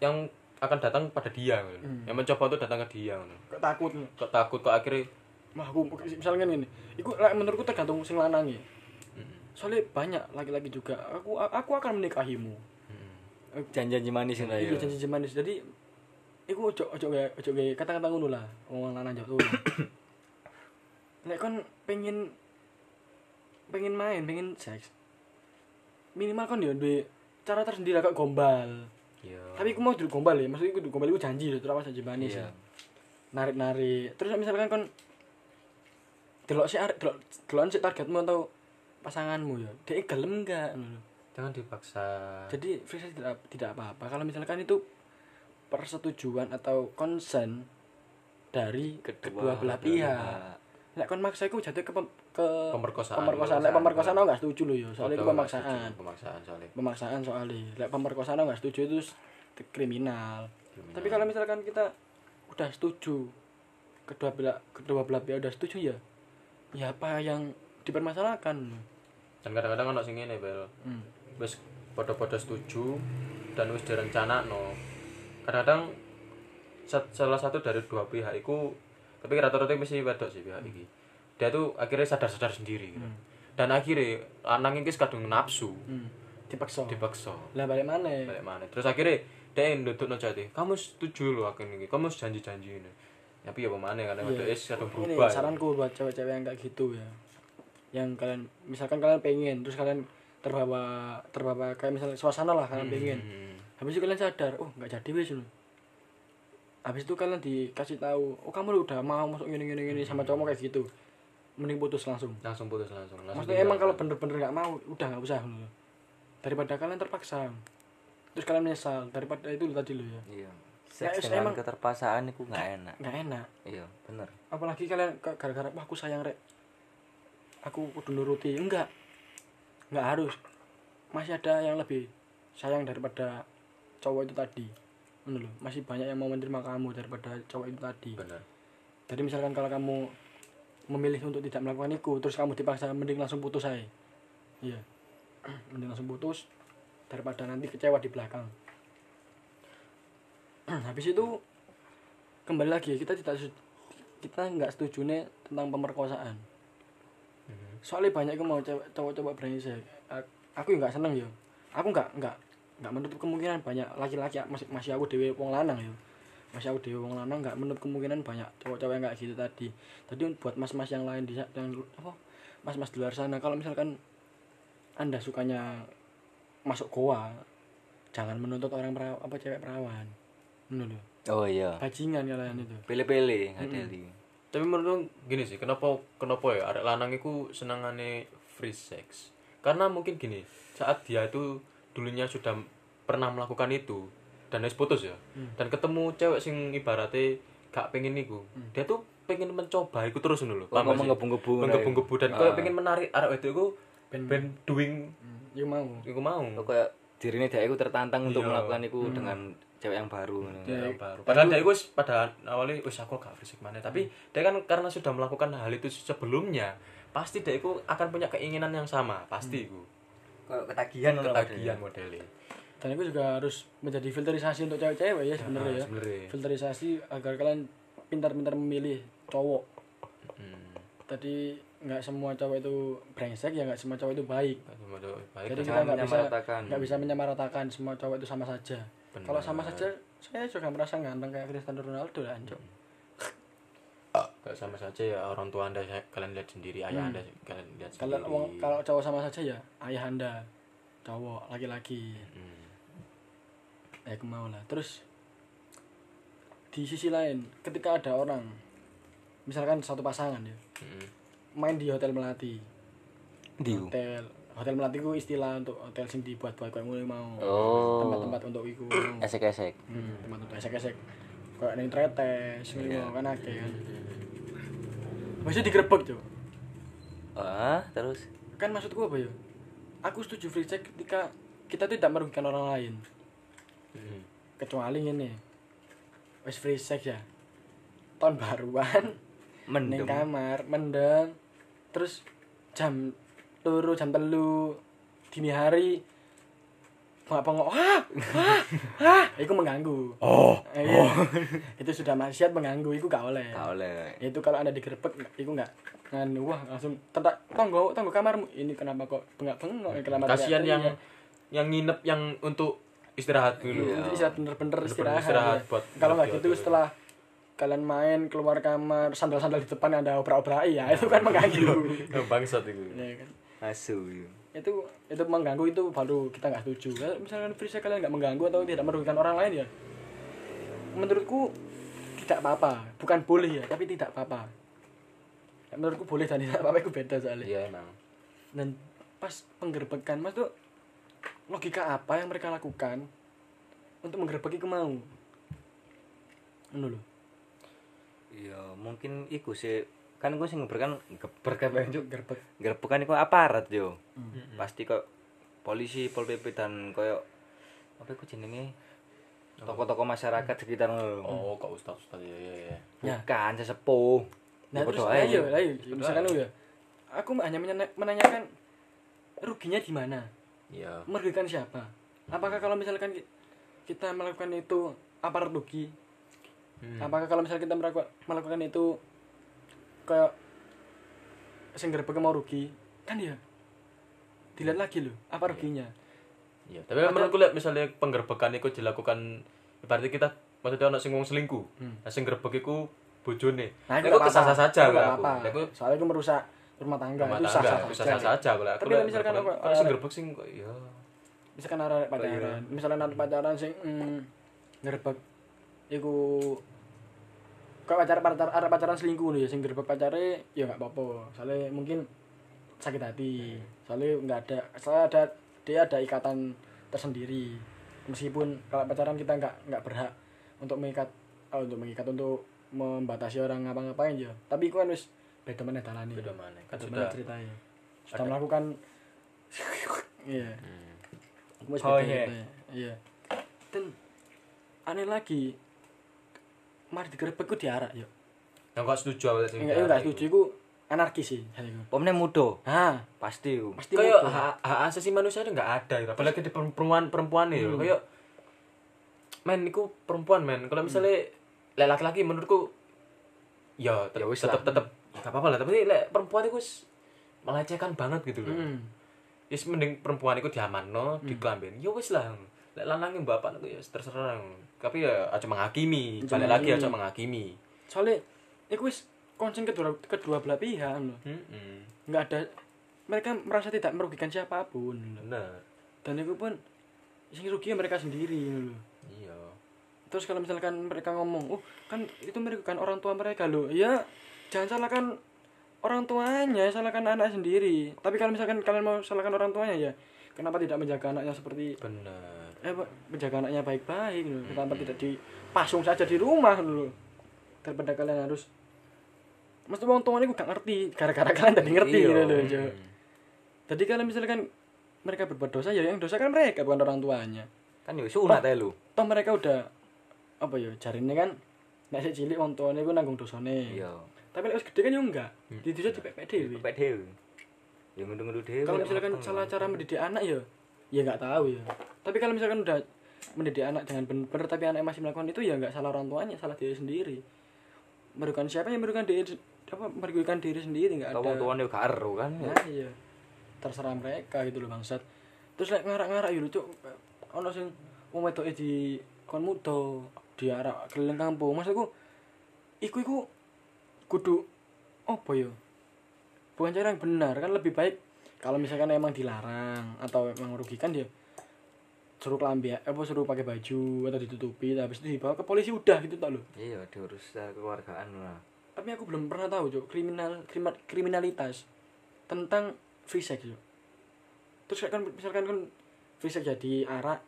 [SPEAKER 3] yang akan datang pada dia gitu. yang mencoba untuk datang ke dia gitu.
[SPEAKER 2] Kok takut nih.
[SPEAKER 3] kok takut kok akhirnya
[SPEAKER 2] mah aku misalnya ngene. Iku lek menurutku tergantung sing lanang ya.
[SPEAKER 3] hmm.
[SPEAKER 2] Soalnya banyak laki-laki juga. Aku aku akan menikahimu.
[SPEAKER 1] Janji-janji manis lah
[SPEAKER 2] Iya
[SPEAKER 1] ya.
[SPEAKER 2] janji manis. Jadi iku ojo ojo gawe ojo gawe kata-kata ngono lah. Wong lanang jauh. Nek kon pengen pengen main, pengen seks. Minimal kon yo duwe cara tersendiri lah, kok gombal.
[SPEAKER 3] ya
[SPEAKER 2] Tapi aku mau duduk gombal ya, maksudnya aku duduk gombal aku janji ya, terus janji manis
[SPEAKER 1] Iya.
[SPEAKER 2] ya. Narik-narik. Terus misalkan kon delok sih arek delok delokan sih targetmu atau pasanganmu ya. Dia gelem enggak ngono lho.
[SPEAKER 3] jangan dipaksa
[SPEAKER 2] Jadi free sex tidak tidak apa-apa kalau misalkan itu persetujuan atau konsen dari kedua, belah pihak. Lek kon maksa iku jatuh ke pem- ke
[SPEAKER 3] Pemerkosaan.
[SPEAKER 2] Pemerkosaan. Lek pemerkosaan aku gak setuju lho ya, soalnya
[SPEAKER 3] Betul,
[SPEAKER 2] iku pemaksaan.
[SPEAKER 3] setuju, pemaksaan soalnya
[SPEAKER 2] Pemaksaan soalnya. Lek pemerkosaan aku gak setuju itu s- kriminal. Tapi kalau misalkan kita udah setuju kedua belah kedua belah pihak udah setuju ya, ya apa yang dipermasalahkan?
[SPEAKER 3] dan kadang-kadang ono sing ngene bel
[SPEAKER 2] Hmm.
[SPEAKER 3] wis padha-padha setuju dan wis direncanakno kadang-kadang sa- salah satu dari dua pihak iku tapi rata-rata mesti wedok sih pihak iki dia tuh akhirnya sadar-sadar sendiri gitu. dan akhirnya anak iki kadung nafsu
[SPEAKER 2] Hmm. Dipaksa.
[SPEAKER 3] dipaksa
[SPEAKER 2] Lah balik mana?
[SPEAKER 3] balik mana terus akhirnya dia nduduk jati kamu setuju loh aku ini kamu janji-janji ini tapi ya pemane karena
[SPEAKER 2] Iya.
[SPEAKER 3] wedok is kadung
[SPEAKER 2] Ini
[SPEAKER 3] berubah ya.
[SPEAKER 2] saranku buat cewek-cewek yang kayak gitu ya. Yang kalian misalkan kalian pengen terus kalian terbawa terbawa kayak misalnya suasana lah kalian pengen.
[SPEAKER 3] Hmm.
[SPEAKER 2] Habis itu kalian sadar, oh nggak jadi wis lho. Habis itu kalian dikasih tahu, oh kamu udah mau masuk gini gini gini
[SPEAKER 3] Hmm.
[SPEAKER 2] sama cowok kayak gitu. Mending putus langsung.
[SPEAKER 3] langsung putus langsung langsung
[SPEAKER 2] Maksudnya emang kalau
[SPEAKER 3] tinggal.
[SPEAKER 2] bener-bener nggak mau, udah nggak usah lho. Daripada kalian terpaksa. Terus kalian menyesal daripada itu tadi lo ya.
[SPEAKER 1] Iya.
[SPEAKER 2] Ya,
[SPEAKER 1] Seks
[SPEAKER 2] is-
[SPEAKER 1] dengan
[SPEAKER 2] emang-
[SPEAKER 1] keterpaksaan itu nggak enak.
[SPEAKER 2] Nggak enak.
[SPEAKER 1] Iya, bener.
[SPEAKER 2] apalagi kalian ke- gara-gara wah aku sayang rek aku kudu nuruti enggak enggak harus masih ada yang lebih sayang daripada cowok itu tadi Ngono lho, masih banyak yang mau menerima kamu daripada cowok itu tadi
[SPEAKER 3] bener
[SPEAKER 2] jadi misalkan kalau kamu memilih untuk tidak melakukan itu terus kamu dipaksa mending langsung putus aja iya <clears throat> mending langsung putus daripada nanti kecewa di belakang <clears throat> habis itu kembali lagi kita tidak se- kita nggak setuju nih tentang pemerkosaan soalnya banyak yang mau cewek- cowok-cowok brengsek A- aku nggak seneng ya aku nggak nggak nggak menutup kemungkinan banyak laki-laki masih masih aku dewe wong lanang ya masih aku dewe wong lanang nggak menutup kemungkinan banyak cowok-cowok yang kayak gitu tadi tadi buat mas-mas yang lain di sa- yang apa mas-mas di luar sana kalau misalkan anda sukanya masuk goa jangan menuntut orang peraw- apa cewek perawan Ngono lho.
[SPEAKER 1] Oh iya. Hmm.
[SPEAKER 2] bajingan kalian itu
[SPEAKER 1] Pele-pele nggak deli.
[SPEAKER 3] tapi menurut gini sih kenapa kenapa ya arek lanang itu senengane free sex karena mungkin gini saat dia itu dulunya sudah pernah melakukan itu dan harus putus ya
[SPEAKER 2] Hmm.
[SPEAKER 3] dan ketemu cewek sing ibaratnya gak pengen niku
[SPEAKER 2] Hmm.
[SPEAKER 3] dia tuh pengen mencoba itu terus dulu
[SPEAKER 1] Oh, menggebu-gebu nah,
[SPEAKER 3] menggebu-gebu dan kayak
[SPEAKER 2] Ah.
[SPEAKER 3] pengen menarik arek itu itu ben, ben doing
[SPEAKER 2] ya mau
[SPEAKER 3] iku mau
[SPEAKER 1] Kok kayak dirinya dia itu tertantang untuk
[SPEAKER 3] Iya.
[SPEAKER 1] melakukan itu dengan cewek yang baru.
[SPEAKER 2] Iya.
[SPEAKER 3] yang baru. Iya, Padahal dia wis pada awalnya wis aku gak fisik mana,
[SPEAKER 2] Hmm.
[SPEAKER 3] tapi dia kan karena sudah melakukan hal itu sebelumnya, pasti dia itu akan punya keinginan yang sama, pasti
[SPEAKER 2] Hmm.
[SPEAKER 3] iku.
[SPEAKER 1] Kayak ketagihan ngono lah
[SPEAKER 2] ya.
[SPEAKER 3] Ketagihan Iya, modelnya.
[SPEAKER 2] dan itu juga harus menjadi filterisasi untuk cewek-cewek ya sebenarnya ya
[SPEAKER 3] Ah, Sebenarnya.
[SPEAKER 2] filterisasi agar kalian pintar-pintar memilih cowok
[SPEAKER 3] Hmm.
[SPEAKER 2] tadi nggak semua cowok itu brengsek ya nggak semua cowok itu baik
[SPEAKER 3] Gak cuma cowok baik.
[SPEAKER 2] jadi
[SPEAKER 3] dan-
[SPEAKER 2] kita
[SPEAKER 1] jangan
[SPEAKER 2] nggak bisa
[SPEAKER 1] menyamaratakan.
[SPEAKER 2] nggak bisa menyamaratakan semua cowok itu sama saja
[SPEAKER 3] Benar.
[SPEAKER 2] kalau sama saja saya juga merasa ganteng kayak Cristiano Ronaldo lah anjok
[SPEAKER 3] Gak sama saja ya orang tua anda saya- kalian lihat sendiri, ayah anda kalian lihat
[SPEAKER 2] kalau
[SPEAKER 3] sendiri.
[SPEAKER 2] wong- Hmm. kalau cowok sama saja ya ayah anda cowok laki-laki
[SPEAKER 3] Hmm.
[SPEAKER 2] eh kemau lah terus di sisi lain ketika ada orang misalkan satu pasangan ya
[SPEAKER 3] Hmm.
[SPEAKER 2] main di hotel melati
[SPEAKER 1] Diu.
[SPEAKER 2] hotel hotel melati ku istilah untuk hotel sing dibuat buat kayak mulai mau
[SPEAKER 1] Oh.
[SPEAKER 2] tempat-tempat untuk iku mau.
[SPEAKER 1] Esek-esek.
[SPEAKER 2] hmm, tempat untuk esek-esek kayak neng tretes sing mau kan akeh kan
[SPEAKER 3] Hmm.
[SPEAKER 2] masih digerebek tuh
[SPEAKER 1] Ah, terus
[SPEAKER 2] kan maksudku apa ya aku setuju free check ketika kita tidak merugikan orang lain
[SPEAKER 3] Hmm.
[SPEAKER 2] kecuali ini wes free sex ya tahun baruan neng
[SPEAKER 1] mendem.
[SPEAKER 2] kamar mendem terus jam 8 turu jam telu dini hari nggak pengok ah ah ah itu mengganggu
[SPEAKER 4] Oh,
[SPEAKER 2] Eh, iya. itu sudah maksiat mengganggu itu gak oleh
[SPEAKER 1] Gak oleh.
[SPEAKER 2] itu kalau anda digerebek itu nggak nganu wah langsung tentak tonggo tonggo kamarmu ini kenapa kok bengak bengok kenapa
[SPEAKER 3] Kasihan
[SPEAKER 2] teriak-teriak?"
[SPEAKER 3] yang yang nginep yang untuk istirahat dulu.
[SPEAKER 2] Jadi istirahat bener-bener
[SPEAKER 3] Iya. Bener-bener
[SPEAKER 2] istirahat.
[SPEAKER 3] istirahat
[SPEAKER 2] ya.
[SPEAKER 3] buat
[SPEAKER 2] Kalau nggak
[SPEAKER 3] buat
[SPEAKER 2] gitu
[SPEAKER 3] diatur.
[SPEAKER 2] setelah kalian main keluar kamar sandal-sandal di depan ada obrak-obrak ya itu kan mengganggu.
[SPEAKER 3] Eh, Bangsat itu.
[SPEAKER 2] Ya kan?
[SPEAKER 1] Asu.
[SPEAKER 2] Itu itu mengganggu itu baru kita nggak setuju. Kalau misalkan free sex kalian nggak mengganggu atau tidak merugikan orang lain ya, menurutku tidak apa-apa. Bukan boleh ya, tapi tidak apa-apa. Ya, Menurutku boleh dan tidak apa-apa itu beda soalnya
[SPEAKER 3] Iya emang.
[SPEAKER 2] dan pas penggerbekan mas tuh logika apa yang mereka lakukan untuk menggerbeki kemau Ngono lho.
[SPEAKER 1] Ya mungkin iku sih kan gue sing ngeberkan ngeberkan banget
[SPEAKER 2] gerbek
[SPEAKER 1] gerbekan iku aparat yo. Pasti kok polisi, pol PP dan koyo apa iku jenenge? Toko-toko masyarakat sekitar ngono.
[SPEAKER 3] Oh, kok ustaz ustaz ya ya ya.
[SPEAKER 1] Bukan sesepuh.
[SPEAKER 2] nah
[SPEAKER 1] Ya,
[SPEAKER 2] terus
[SPEAKER 1] padha ae.
[SPEAKER 2] ayo ayo misalkan lu ya aku hanya menanya- menanyakan ruginya di mana
[SPEAKER 3] Iya.
[SPEAKER 2] merugikan siapa apakah kalau misalkan ki- kita melakukan itu apa rugi
[SPEAKER 3] Hmm.
[SPEAKER 2] apakah kalau misalkan kita melaku- melakukan itu kayak sing gerbek mau rugi kan ya dilihat lagi loh apa ruginya
[SPEAKER 3] Iya, tapi menurutku lek misalnya penggerbekan itu dilakukan berarti kita maksudnya ana sing wong selingkuh. Nah, sing gerbek iku bojone.
[SPEAKER 2] Hmm. Nah, itu
[SPEAKER 3] aku
[SPEAKER 2] nggak
[SPEAKER 3] kesasa
[SPEAKER 2] apa-apa.
[SPEAKER 3] saja
[SPEAKER 2] Itu nggak
[SPEAKER 3] kalau aku.
[SPEAKER 2] apa-apa.
[SPEAKER 3] Lek aku
[SPEAKER 2] Soalnya itu merusak rumah tangga,
[SPEAKER 3] rumah
[SPEAKER 2] itu
[SPEAKER 3] tangga,
[SPEAKER 2] sah-sah
[SPEAKER 3] aku
[SPEAKER 2] saja.
[SPEAKER 3] sah-sah saja kalau aku.
[SPEAKER 2] Tapi
[SPEAKER 3] lek
[SPEAKER 2] misalkan eh,
[SPEAKER 3] gerbekan-
[SPEAKER 2] aku-
[SPEAKER 3] kalau sing gerbek sing kok ya.
[SPEAKER 2] Misalkan ada pacaran, misalkan ada pacaran sing mm, ngerebek iku kok pacar pacar ada pacaran selingkuh nih, sing ngerebek pacare ya nggak apa-apa. Soalnya mungkin sakit hati. Soalnya nggak ada, soalnya ada dia ada ikatan tersendiri. Meskipun kalau pacaran kita nggak nggak berhak untuk mengikat, oh, untuk mengikat untuk membatasi orang ngapa-ngapain ya. Tapi iku kan wis beda mana dalane.
[SPEAKER 3] Beda maneh. Kan
[SPEAKER 2] Kan
[SPEAKER 3] sudah
[SPEAKER 2] ceritanya. Sudah melakukan <laughs> iya. Aku masih
[SPEAKER 4] Oh,
[SPEAKER 2] beda
[SPEAKER 4] iya.
[SPEAKER 2] ceritanya. Iya. Dan aneh lagi mari digerebek ku diarak yuk.
[SPEAKER 3] yang gak setuju awal sing.
[SPEAKER 2] Enggak, enggak setuju iku anarkis sih hal iku.
[SPEAKER 1] Pomne mudo
[SPEAKER 2] Ah,
[SPEAKER 1] pasti yo.
[SPEAKER 2] pasti
[SPEAKER 3] Kayak
[SPEAKER 2] mutu.
[SPEAKER 3] hak hak asasi manusia itu nggak ada ya. Apalagi di perempuan perempuan ya. Kayak men iku perempuan men. Kalau misalnya lek laki-laki menurutku ya
[SPEAKER 1] Ya wis
[SPEAKER 3] tetap tetap enggak apa-apa lah. Tapi lek perempuan itu wis melecehkan banget gitu loh.
[SPEAKER 2] Hmm.
[SPEAKER 3] Yes, mending perempuan itu diamanno, dikelambin. Ya wis lah. Lek lanangnya bapak itu ya terserah. Tapi ya aja menghakimi.
[SPEAKER 2] Aja
[SPEAKER 3] Balik lagi
[SPEAKER 2] menghakimi.
[SPEAKER 3] aja menghakimi.
[SPEAKER 2] Soalnya iku wis konsen kedua kedua belah pihak loh.
[SPEAKER 3] Heeh.
[SPEAKER 2] Enggak ada mereka merasa tidak merugikan siapapun loh.
[SPEAKER 3] Bener.
[SPEAKER 2] Dan itu pun sing rugi ya mereka sendiri loh.
[SPEAKER 3] Iya.
[SPEAKER 2] terus kalau misalkan mereka ngomong oh kan itu merugikan orang tua mereka loh ya jangan salahkan orang tuanya salahkan anak sendiri tapi kalau misalkan kalian mau salahkan orang tuanya ya kenapa tidak menjaga anaknya seperti
[SPEAKER 3] Bener.
[SPEAKER 2] eh apa, menjaga anaknya baik-baik loh kenapa tidak dipasung saja di rumah loh daripada kalian harus mesti orang tuanya gue gak ngerti gara-gara kalian tadi ngerti gitu loh Jo. jadi kalau misalkan mereka berbuat dosa ya yang dosa kan mereka bukan orang tuanya
[SPEAKER 1] Kan yo sunat ae lu.
[SPEAKER 2] toh mereka udah apa ya jarine kan nek sik cilik wong tuane iku nanggung dosane.
[SPEAKER 1] Iya. Hmm.
[SPEAKER 2] Tapi nek wis gede kan yo enggak. Didosa dipepek dhewe.
[SPEAKER 1] Pepet dhewe. Ya ngundu-ngundu dhewe.
[SPEAKER 2] Kalau misalkan salah cara mendidik anak ya ya nggak tahu ya. Tapi kalau misalkan udah mendidik anak dengan benar tapi anak masih melakukan itu ya nggak salah orang tuanya, salah diri sendiri. Merugikan siapa yang merugikan diri apa merugikan diri sendiri nggak ada.
[SPEAKER 1] Kau tuan yo gak ero kan.
[SPEAKER 2] Nah, iya. Terserah mereka gitu loh bangsat. Terus lek ngarak-ngarak yo lucu. Ono sing wong wedoke di kon muda diarak keliling kampung. Maksudku iku iku kudu apa yo? Bukan cara yang benar kan lebih baik kalau misalkan emang dilarang atau emang merugikan dia suruh kelambi apa suruh pakai baju atau ditutupi habis itu dibawa ke polisi udah gitu tak lo
[SPEAKER 1] Iya, diurus secara kekeluargaan lah.
[SPEAKER 2] tapi aku belum pernah tahu cok kriminal krima- kriminalitas tentang free sex cok terus kayak kan misalkan kan free sex jadi arak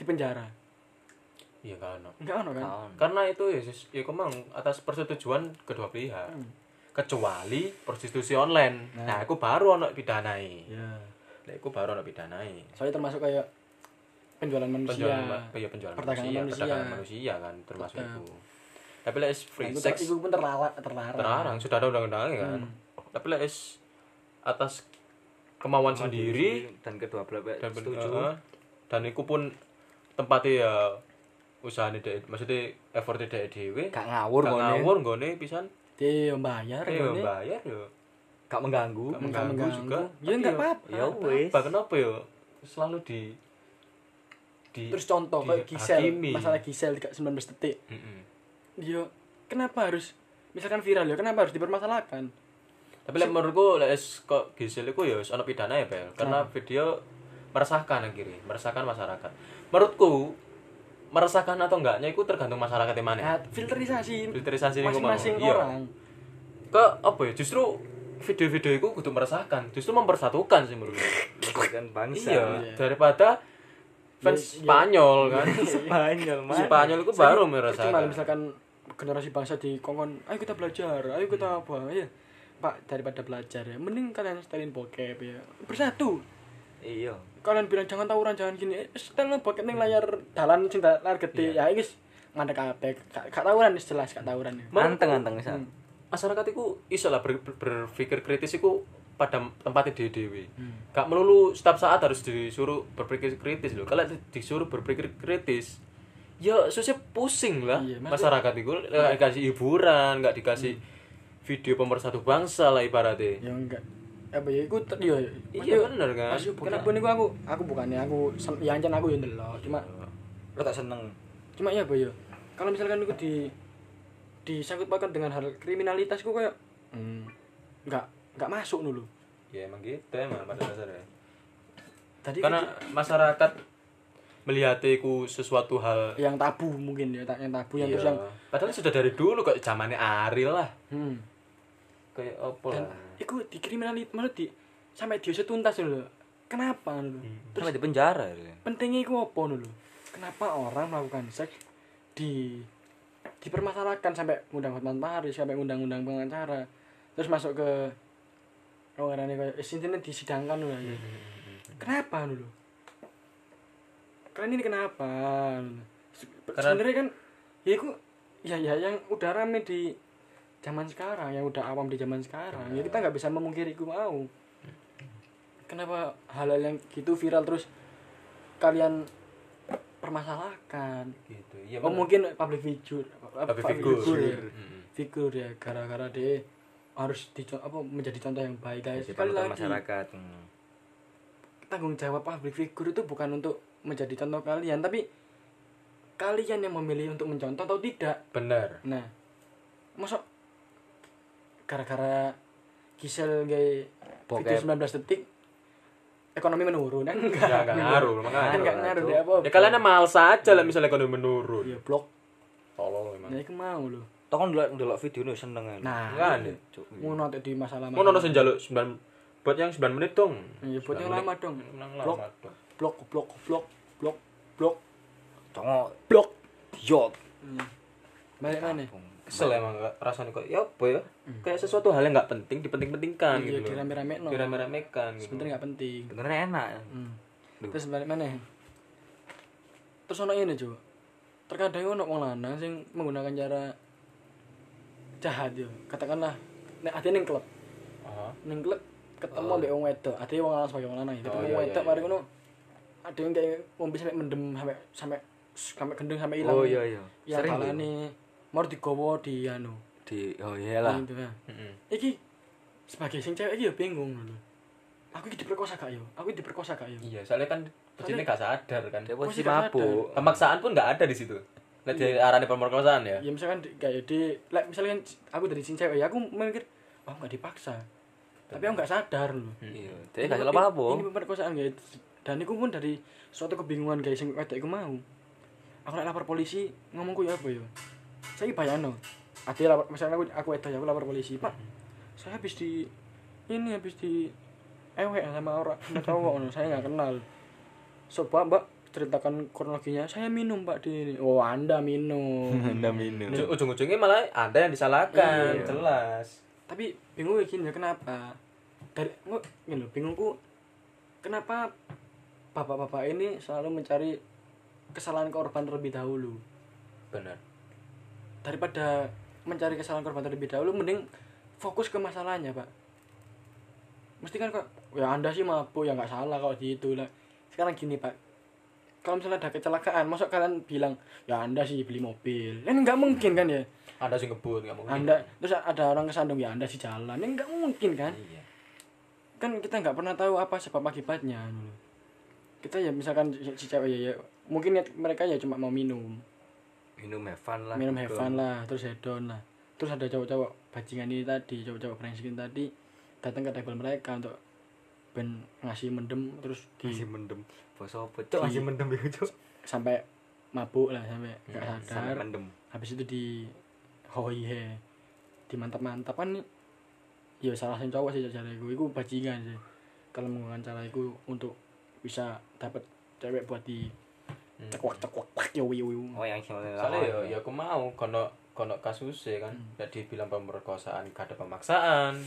[SPEAKER 2] di penjara
[SPEAKER 3] Iya kan. no.
[SPEAKER 2] enggak ono kan
[SPEAKER 1] Kawan.
[SPEAKER 3] Karena itu ya, sis- ya kemang atas persetujuan kedua pihak.
[SPEAKER 2] Hmm.
[SPEAKER 3] Kecuali prostitusi online. Hmm. Nah, aku baru anak pidanai.
[SPEAKER 2] ya
[SPEAKER 3] Lek aku baru anak pidanai.
[SPEAKER 2] soalnya termasuk kayak penjualan manusia
[SPEAKER 3] penjualan ma- ya, penjualan
[SPEAKER 2] perdagangan
[SPEAKER 3] manusia,
[SPEAKER 2] manusia.
[SPEAKER 3] perdagangan manusia kan termasuk
[SPEAKER 2] Tetap.
[SPEAKER 3] itu. Tapi lek is free
[SPEAKER 2] itu,
[SPEAKER 3] sex
[SPEAKER 2] itu Nah, pun terlarang Hmm. terlarang
[SPEAKER 3] kan. Hmm. terlarang sudah ada undang-undangnya kan. Tapi lek is atas kemauan sendiri
[SPEAKER 1] dan kedua belah pihak
[SPEAKER 3] dan
[SPEAKER 1] setuju
[SPEAKER 3] eh, dan iku pun tempatnya ya usahane dhek maksudnya effort dhek dhewe
[SPEAKER 1] gak ngawur
[SPEAKER 3] Gak
[SPEAKER 1] ngone.
[SPEAKER 3] ngawur nggone pisan
[SPEAKER 2] Dia yang bayar
[SPEAKER 3] ya
[SPEAKER 2] ini.
[SPEAKER 3] bayar yo
[SPEAKER 1] gak mengganggu
[SPEAKER 3] Gak mengganggu
[SPEAKER 2] mengganggu.
[SPEAKER 3] juga
[SPEAKER 2] Ya,
[SPEAKER 3] Tapi
[SPEAKER 2] nggak apa-apa.
[SPEAKER 1] ya wes
[SPEAKER 3] apa kenapa yo selalu di di
[SPEAKER 2] Terus contoh kayak Gisel,
[SPEAKER 3] dihakimi.
[SPEAKER 2] masalah Gisel 19 detik.
[SPEAKER 3] Mm-mm.
[SPEAKER 2] Dia kenapa harus misalkan viral ya kenapa harus dipermasalahkan?
[SPEAKER 3] tapi lek menurutku lek es kok Gisel iku ya wis ana pidana ya Bel karena
[SPEAKER 2] Nah.
[SPEAKER 3] video meresahkan akhirnya meresahkan masyarakat menurutku meresahkan atau enggaknya itu tergantung masyarakat yang mana
[SPEAKER 2] Nah, filterisasi
[SPEAKER 3] Filterisasi ini
[SPEAKER 2] masing-masing
[SPEAKER 3] ngomong. Iya.
[SPEAKER 2] orang.
[SPEAKER 3] ke apa ya justru video-video itu kudu meresahkan justru mempersatukan sih menurutku
[SPEAKER 1] kan bangsa
[SPEAKER 3] iya daripada
[SPEAKER 2] Ya,
[SPEAKER 3] fans Spanyol
[SPEAKER 2] <laughs>
[SPEAKER 3] kan
[SPEAKER 2] Iya,
[SPEAKER 1] Spanyol mas
[SPEAKER 3] Spanyol itu baru
[SPEAKER 2] Percuma
[SPEAKER 3] meresahkan
[SPEAKER 2] misalkan generasi bangsa di kongkon, ayo kita belajar, ayo
[SPEAKER 3] Hmm.
[SPEAKER 2] kita apa, ya. Pak, daripada belajar ya, mending kalian setelin bokep ya. Bersatu.
[SPEAKER 1] iya
[SPEAKER 2] Kalian bilang jangan tawuran, jangan gini. Eh, setelin bokep
[SPEAKER 3] Hmm.
[SPEAKER 2] ning layar dalan sing da- layar gede. Ya
[SPEAKER 3] Iya.
[SPEAKER 2] iki ngandek kabeh. Gak gak tawuran wis jelas gak tawuran
[SPEAKER 3] Hmm.
[SPEAKER 2] ya.
[SPEAKER 1] anteng anteng san
[SPEAKER 3] masyarakat itu iso lah ber- ber- berpikir kritis itu pada tempatnya di dewi
[SPEAKER 2] Hmm.
[SPEAKER 3] gak melulu setiap saat harus disuruh berpikir kritis loh kalau di- disuruh berpikir kritis ya susah pusing lah
[SPEAKER 2] Iya, Hmm.
[SPEAKER 3] masyarakat itu nggak dikasih hiburan nggak dikasih video pemersatu bangsa lah ibaratnya
[SPEAKER 2] Ya enggak. Apa ya iku ter- ya.
[SPEAKER 3] iya bener kan
[SPEAKER 2] Mas, kenapa niku aku aku bukannya aku sen- ya ancen aku ya ndelok, cuma
[SPEAKER 1] lo tak seneng
[SPEAKER 2] cuma ya boyo kalau misalkan itu di disangkut pautkan dengan hal kriminalitas ku kayak hmm, nggak nggak masuk dulu
[SPEAKER 3] ya emang gitu emang pada dasarnya
[SPEAKER 2] tadi
[SPEAKER 3] karena masyarakat melihat itu sesuatu hal Iya.
[SPEAKER 2] yang tabu mungkin ya tak- yang tabu Iya, yang terus yang
[SPEAKER 3] padahal sudah dari dulu kayak zamannya Ariel lah
[SPEAKER 2] hmm.
[SPEAKER 3] kayak apa
[SPEAKER 2] dan
[SPEAKER 3] lah
[SPEAKER 2] itu di kriminalitas maksud di sampai diusut tuntas dulu kenapa dulu
[SPEAKER 3] Hmm.
[SPEAKER 2] terus
[SPEAKER 1] sampai di penjara ya.
[SPEAKER 2] pentingnya itu apa dulu kenapa orang melakukan seks di dipermasalahkan sampai undang Hotman Paris sampai undang-undang pengacara terus masuk ke oh ngarane kayak eh, intinya disidangkan dulu aja. kenapa dulu kalian ini kenapa anu,
[SPEAKER 3] Karena-
[SPEAKER 2] sebenarnya kan ya aku ya ya yang udah rame di zaman sekarang yang udah awam di zaman sekarang ya kita nggak bisa memungkiri itu mau kenapa hal-hal yang gitu viral terus kalian permasalahkan
[SPEAKER 3] gitu ya
[SPEAKER 2] oh mungkin public figure apa-
[SPEAKER 3] Public figure.
[SPEAKER 2] ya.
[SPEAKER 3] Mm-mm.
[SPEAKER 2] figur ya gara-gara dia harus di apa menjadi contoh yang baik
[SPEAKER 3] Ya,
[SPEAKER 2] guys
[SPEAKER 1] Jadi
[SPEAKER 2] sekali
[SPEAKER 1] panutan
[SPEAKER 2] lagi
[SPEAKER 1] masyarakat Hmm.
[SPEAKER 2] tanggung jawab public figure itu bukan untuk menjadi contoh kalian tapi kalian yang memilih untuk mencontoh atau tidak
[SPEAKER 3] bener
[SPEAKER 2] nah masuk gara-gara Gisel gay video 19
[SPEAKER 1] Bokep.
[SPEAKER 2] detik ekonomi menurun kan enggak
[SPEAKER 3] ya nggak ngaruh
[SPEAKER 2] kan
[SPEAKER 3] makanya
[SPEAKER 2] enggak ngaruh ya apa
[SPEAKER 3] ya kalian mal saja lah misalnya ekonomi menurun
[SPEAKER 2] ya blok
[SPEAKER 3] tolong emang
[SPEAKER 2] nah itu mau loh
[SPEAKER 1] Toh kan dulu dulu video nih seneng kan
[SPEAKER 2] nah
[SPEAKER 3] kan ya?
[SPEAKER 1] Cuk,
[SPEAKER 2] mau nanti di masalah
[SPEAKER 3] mau nono senjaluk sembilan buat yang sembilan menit dong
[SPEAKER 2] ya buat yang lama dong
[SPEAKER 3] Menang
[SPEAKER 2] blok
[SPEAKER 3] lama dong
[SPEAKER 2] blok blok blok blok blok
[SPEAKER 1] congok
[SPEAKER 2] blok
[SPEAKER 1] diot
[SPEAKER 3] Iya.
[SPEAKER 2] balik mana
[SPEAKER 3] kesel emang nggak rasanya kok ya apa ya kayak sesuatu hal yang nggak penting dipenting-pentingkan
[SPEAKER 2] iya
[SPEAKER 3] gitu loh.
[SPEAKER 2] dirame-rame no
[SPEAKER 3] dirame-ramekan gitu
[SPEAKER 2] sebenernya nggak penting
[SPEAKER 1] beneran enak
[SPEAKER 2] Hmm. terus balik mana terus ono ini coba terkadang ono wong lanang sing menggunakan cara jahat yo katakanlah nek ati ning klub
[SPEAKER 3] Aha.
[SPEAKER 2] ning klub ketemu ambek wong wedok ati wong lanang sebagai wong lanang ya. ketemu
[SPEAKER 3] Ah. iya,
[SPEAKER 2] wong
[SPEAKER 3] iya,
[SPEAKER 2] wedok
[SPEAKER 3] iya.
[SPEAKER 2] mari ngono ada yang kayak ngombe sampe mendem sampe sampe sampe gendeng sampe ilang
[SPEAKER 1] oh iya iya
[SPEAKER 2] yang
[SPEAKER 1] sering tuh.
[SPEAKER 2] kalane mau digowo di anu
[SPEAKER 1] di oh
[SPEAKER 3] Hmm.
[SPEAKER 1] iyalah
[SPEAKER 2] gitu ya.
[SPEAKER 3] Mm-mm.
[SPEAKER 2] iki sebagai sing cewek iki ya bingung lho. Aku iki diperkosa gak yo? Aku iki diperkosa gak yo?
[SPEAKER 3] Iya, soalnya kan pecinta gak sadar kan.
[SPEAKER 1] dia
[SPEAKER 2] Posisi
[SPEAKER 1] posisi
[SPEAKER 2] gak
[SPEAKER 1] mabuk
[SPEAKER 3] Pemaksaan pun gak ada di situ. Nah, dari
[SPEAKER 2] Iya.
[SPEAKER 3] arahnya pemerkosaan ya.
[SPEAKER 2] Ya misalkan di- kayak di like misalkan aku dari sing cewek ya aku mikir "Oh, aku gak dipaksa. Tapi aku gak sadar lho.
[SPEAKER 1] iya dia gak salah apa
[SPEAKER 2] Ini pemerkosaan guys. Dan aku pun dari suatu kebingungan guys sing wedok iku mau. Aku lek lapor polisi ngomongku ya apa yo? Saya bayangno. Ati lapor misalkan aku aku wedok ya aku lapor polisi, Pak. Saya habis di ini habis di ewek sama orang sama cowok ngono, saya nggak kenal. Coba Mbak ceritakan kronologinya. Saya minum Pak di ini. Oh, Anda minum.
[SPEAKER 1] <laughs> enam minum
[SPEAKER 3] Ujung- Ujung-ujungnya malah Anda yang
[SPEAKER 2] Iya.
[SPEAKER 3] disalahkan, jelas.
[SPEAKER 2] tapi bingung ya gini ya, kenapa dari nggak gini loh bingungku kenapa bapak-bapak ini selalu mencari kesalahan korban terlebih dahulu
[SPEAKER 3] Benar.
[SPEAKER 2] daripada mencari kesalahan korban terlebih dahulu mending fokus ke masalahnya pak mesti kan kok ya anda sih mabuk ya nggak salah kalau gitu lah sekarang gini pak kalau misalnya ada kecelakaan masa kalian bilang ya anda sih beli mobil kan nggak mungkin kan ya
[SPEAKER 3] Ada sih ngebut nggak
[SPEAKER 1] Iya.
[SPEAKER 3] mungkin.
[SPEAKER 2] anda terus ada orang kesandung ya anda sih jalan ya nggak mungkin kan
[SPEAKER 3] Iya.
[SPEAKER 2] kan kita nggak pernah tahu apa sebab akibatnya dulu. kita ya misalkan si si cewek ya, ya mungkin niat mereka ya cuma mau minum
[SPEAKER 1] minum have fun lah
[SPEAKER 2] minum
[SPEAKER 1] gitu.
[SPEAKER 2] heaven lah terus hedon lah terus ada cowok-cowok bajingan ini tadi cowok-cowok brengsek ini tadi datang ke table mereka untuk ben ngasih mendem terus di
[SPEAKER 1] masih mendem bosok apa cok masih mendem ya cok
[SPEAKER 2] sampai mabuk lah sampai nggak
[SPEAKER 1] Iya,
[SPEAKER 2] sadar
[SPEAKER 1] sampai mendem
[SPEAKER 2] habis itu di hoihe di mantap mantapan ya salah sing cowok sih cara gue gue bajingan sih kalau menggunakan cara itu untuk bisa dapat cewek buat di
[SPEAKER 3] Hmm.
[SPEAKER 2] cekwak cekwak cekwak yo yo yo
[SPEAKER 1] oh yang sini lah
[SPEAKER 3] Soalnya ya, ya aku mau kono kono kasusnya kan.
[SPEAKER 2] Hmm.
[SPEAKER 3] Jadi bilang pemerkosaan, gak ada pemaksaan.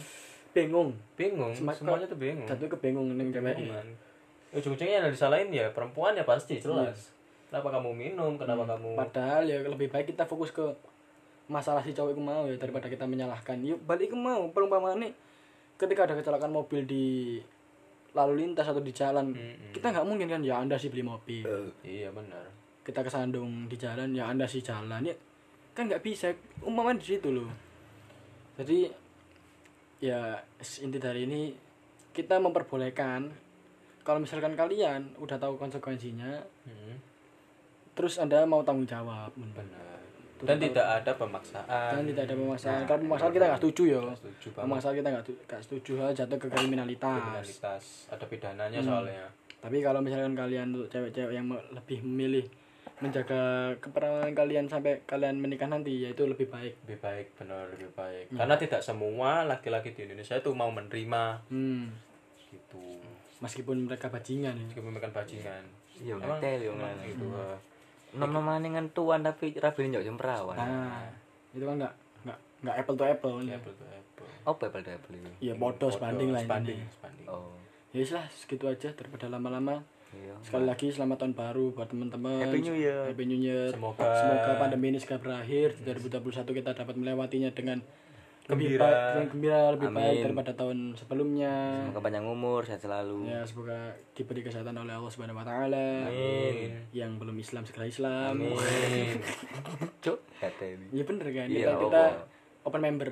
[SPEAKER 2] bingung
[SPEAKER 3] Bingung,
[SPEAKER 2] Semak-
[SPEAKER 3] semuanya tuh bingung.
[SPEAKER 2] satu kebingung neng cewek
[SPEAKER 3] Bingungan. Ujung-ujungnya yang disalahin ya perempuan ya pasti
[SPEAKER 2] Iya.
[SPEAKER 3] jelas. Kenapa kamu minum? Kenapa kamu
[SPEAKER 2] padahal ya lebih baik kita fokus ke masalah si cowok itu mau ya daripada kita menyalahkan yuk balik ke mau perumpamaan ketika ada kecelakaan mobil di lalu lintas atau di jalan
[SPEAKER 3] Mm-mm.
[SPEAKER 2] kita nggak mungkin kan ya anda sih beli mobil
[SPEAKER 3] Iya benar.
[SPEAKER 2] kita kesandung di jalan ya anda sih jalan ya kan nggak bisa umpamanya di situ loh jadi ya inti dari ini kita memperbolehkan kalau misalkan kalian udah tahu konsekuensinya
[SPEAKER 3] Hmm,
[SPEAKER 2] terus anda mau tanggung jawab
[SPEAKER 3] benar. Dan tidak ada
[SPEAKER 2] dan
[SPEAKER 3] pemaksaan.
[SPEAKER 2] tidak ada pemaksaan kalau pemaksaan kita nggak setuju ya
[SPEAKER 3] Ah, iya. Nah, Nggak setuju banget.
[SPEAKER 2] pemaksaan kita nggak nggak setuju hal jatuh ke kriminalitas
[SPEAKER 3] Kriminalitas. Ada pidananya
[SPEAKER 2] Hmm.
[SPEAKER 3] soalnya.
[SPEAKER 2] tapi kalau misalkan kalian untuk cewek-cewek yang me- lebih memilih menjaga keperawanan kalian sampai kalian menikah nanti yaitu lebih baik
[SPEAKER 3] Lebih baik benar lebih baik.
[SPEAKER 2] Hmm.
[SPEAKER 3] Karena tidak semua laki-laki di Indonesia itu mau menerima
[SPEAKER 2] hmm.
[SPEAKER 3] gitu.
[SPEAKER 2] meskipun mereka bajingan ya
[SPEAKER 3] Meskipun makan bajingan.
[SPEAKER 1] yo Iya, ngetel ya, yo
[SPEAKER 3] Emang
[SPEAKER 1] ngene
[SPEAKER 3] gitu. eh,
[SPEAKER 2] Hmm.
[SPEAKER 1] nom nomane tuan tapi rabine yo jemprawan
[SPEAKER 2] nah itu kan nggak nggak nggak apple to apple ya
[SPEAKER 3] uh, Iya, apple to apple.
[SPEAKER 1] apa apple to apple itu
[SPEAKER 2] ya bodoh sebanding lah
[SPEAKER 3] Sebanding,
[SPEAKER 2] ini
[SPEAKER 3] sebanding.
[SPEAKER 1] oh
[SPEAKER 2] ya wis lah segitu aja daripada lama-lama
[SPEAKER 1] iya
[SPEAKER 2] sekali lagi selamat tahun baru buat teman-teman
[SPEAKER 1] Happy New Year.
[SPEAKER 2] Happy New Year.
[SPEAKER 3] Semoga-
[SPEAKER 2] Semoga pandemi ini segera berakhir di 2021 kita dapat melewatinya dengan lebih
[SPEAKER 3] Gembira.
[SPEAKER 2] baik, dengan gembira lebih baik
[SPEAKER 1] Amin.
[SPEAKER 2] daripada tahun sebelumnya
[SPEAKER 1] semoga panjang umur sehat selalu
[SPEAKER 2] ya semoga diberi kesehatan oleh Allah Subhanahu Wa Taala
[SPEAKER 3] Amin.
[SPEAKER 2] yang belum Islam segera Islam
[SPEAKER 3] Amin.
[SPEAKER 1] cok kata ini
[SPEAKER 2] ya bener kan
[SPEAKER 1] Iya,
[SPEAKER 2] kita, kita
[SPEAKER 1] Allah.
[SPEAKER 2] open member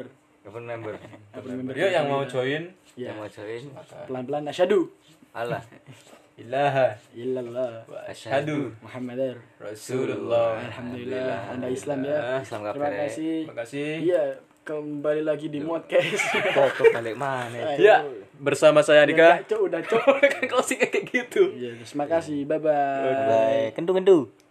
[SPEAKER 1] open member
[SPEAKER 2] open member
[SPEAKER 3] Yuk yang mau join
[SPEAKER 2] ya
[SPEAKER 1] yang mau join
[SPEAKER 2] pelan-pelan asyhadu
[SPEAKER 1] Allah
[SPEAKER 3] ilaha
[SPEAKER 2] illallah
[SPEAKER 3] wa asyhadu
[SPEAKER 2] Muhammadar
[SPEAKER 3] Rasulullah.
[SPEAKER 2] Alhamdulillah anda Islam ya
[SPEAKER 1] Islam
[SPEAKER 2] terima
[SPEAKER 1] kabeh.
[SPEAKER 2] kasih
[SPEAKER 3] Terima kasih.
[SPEAKER 2] iya kembali lagi di podcast
[SPEAKER 1] foto balik mana
[SPEAKER 3] Ya, bersama saya Andika. <laughs>
[SPEAKER 2] Cok, udah cok.
[SPEAKER 3] Kan closing kayak gitu.
[SPEAKER 2] Iya, terima kasih. Bye bye.
[SPEAKER 1] bye kentu kentu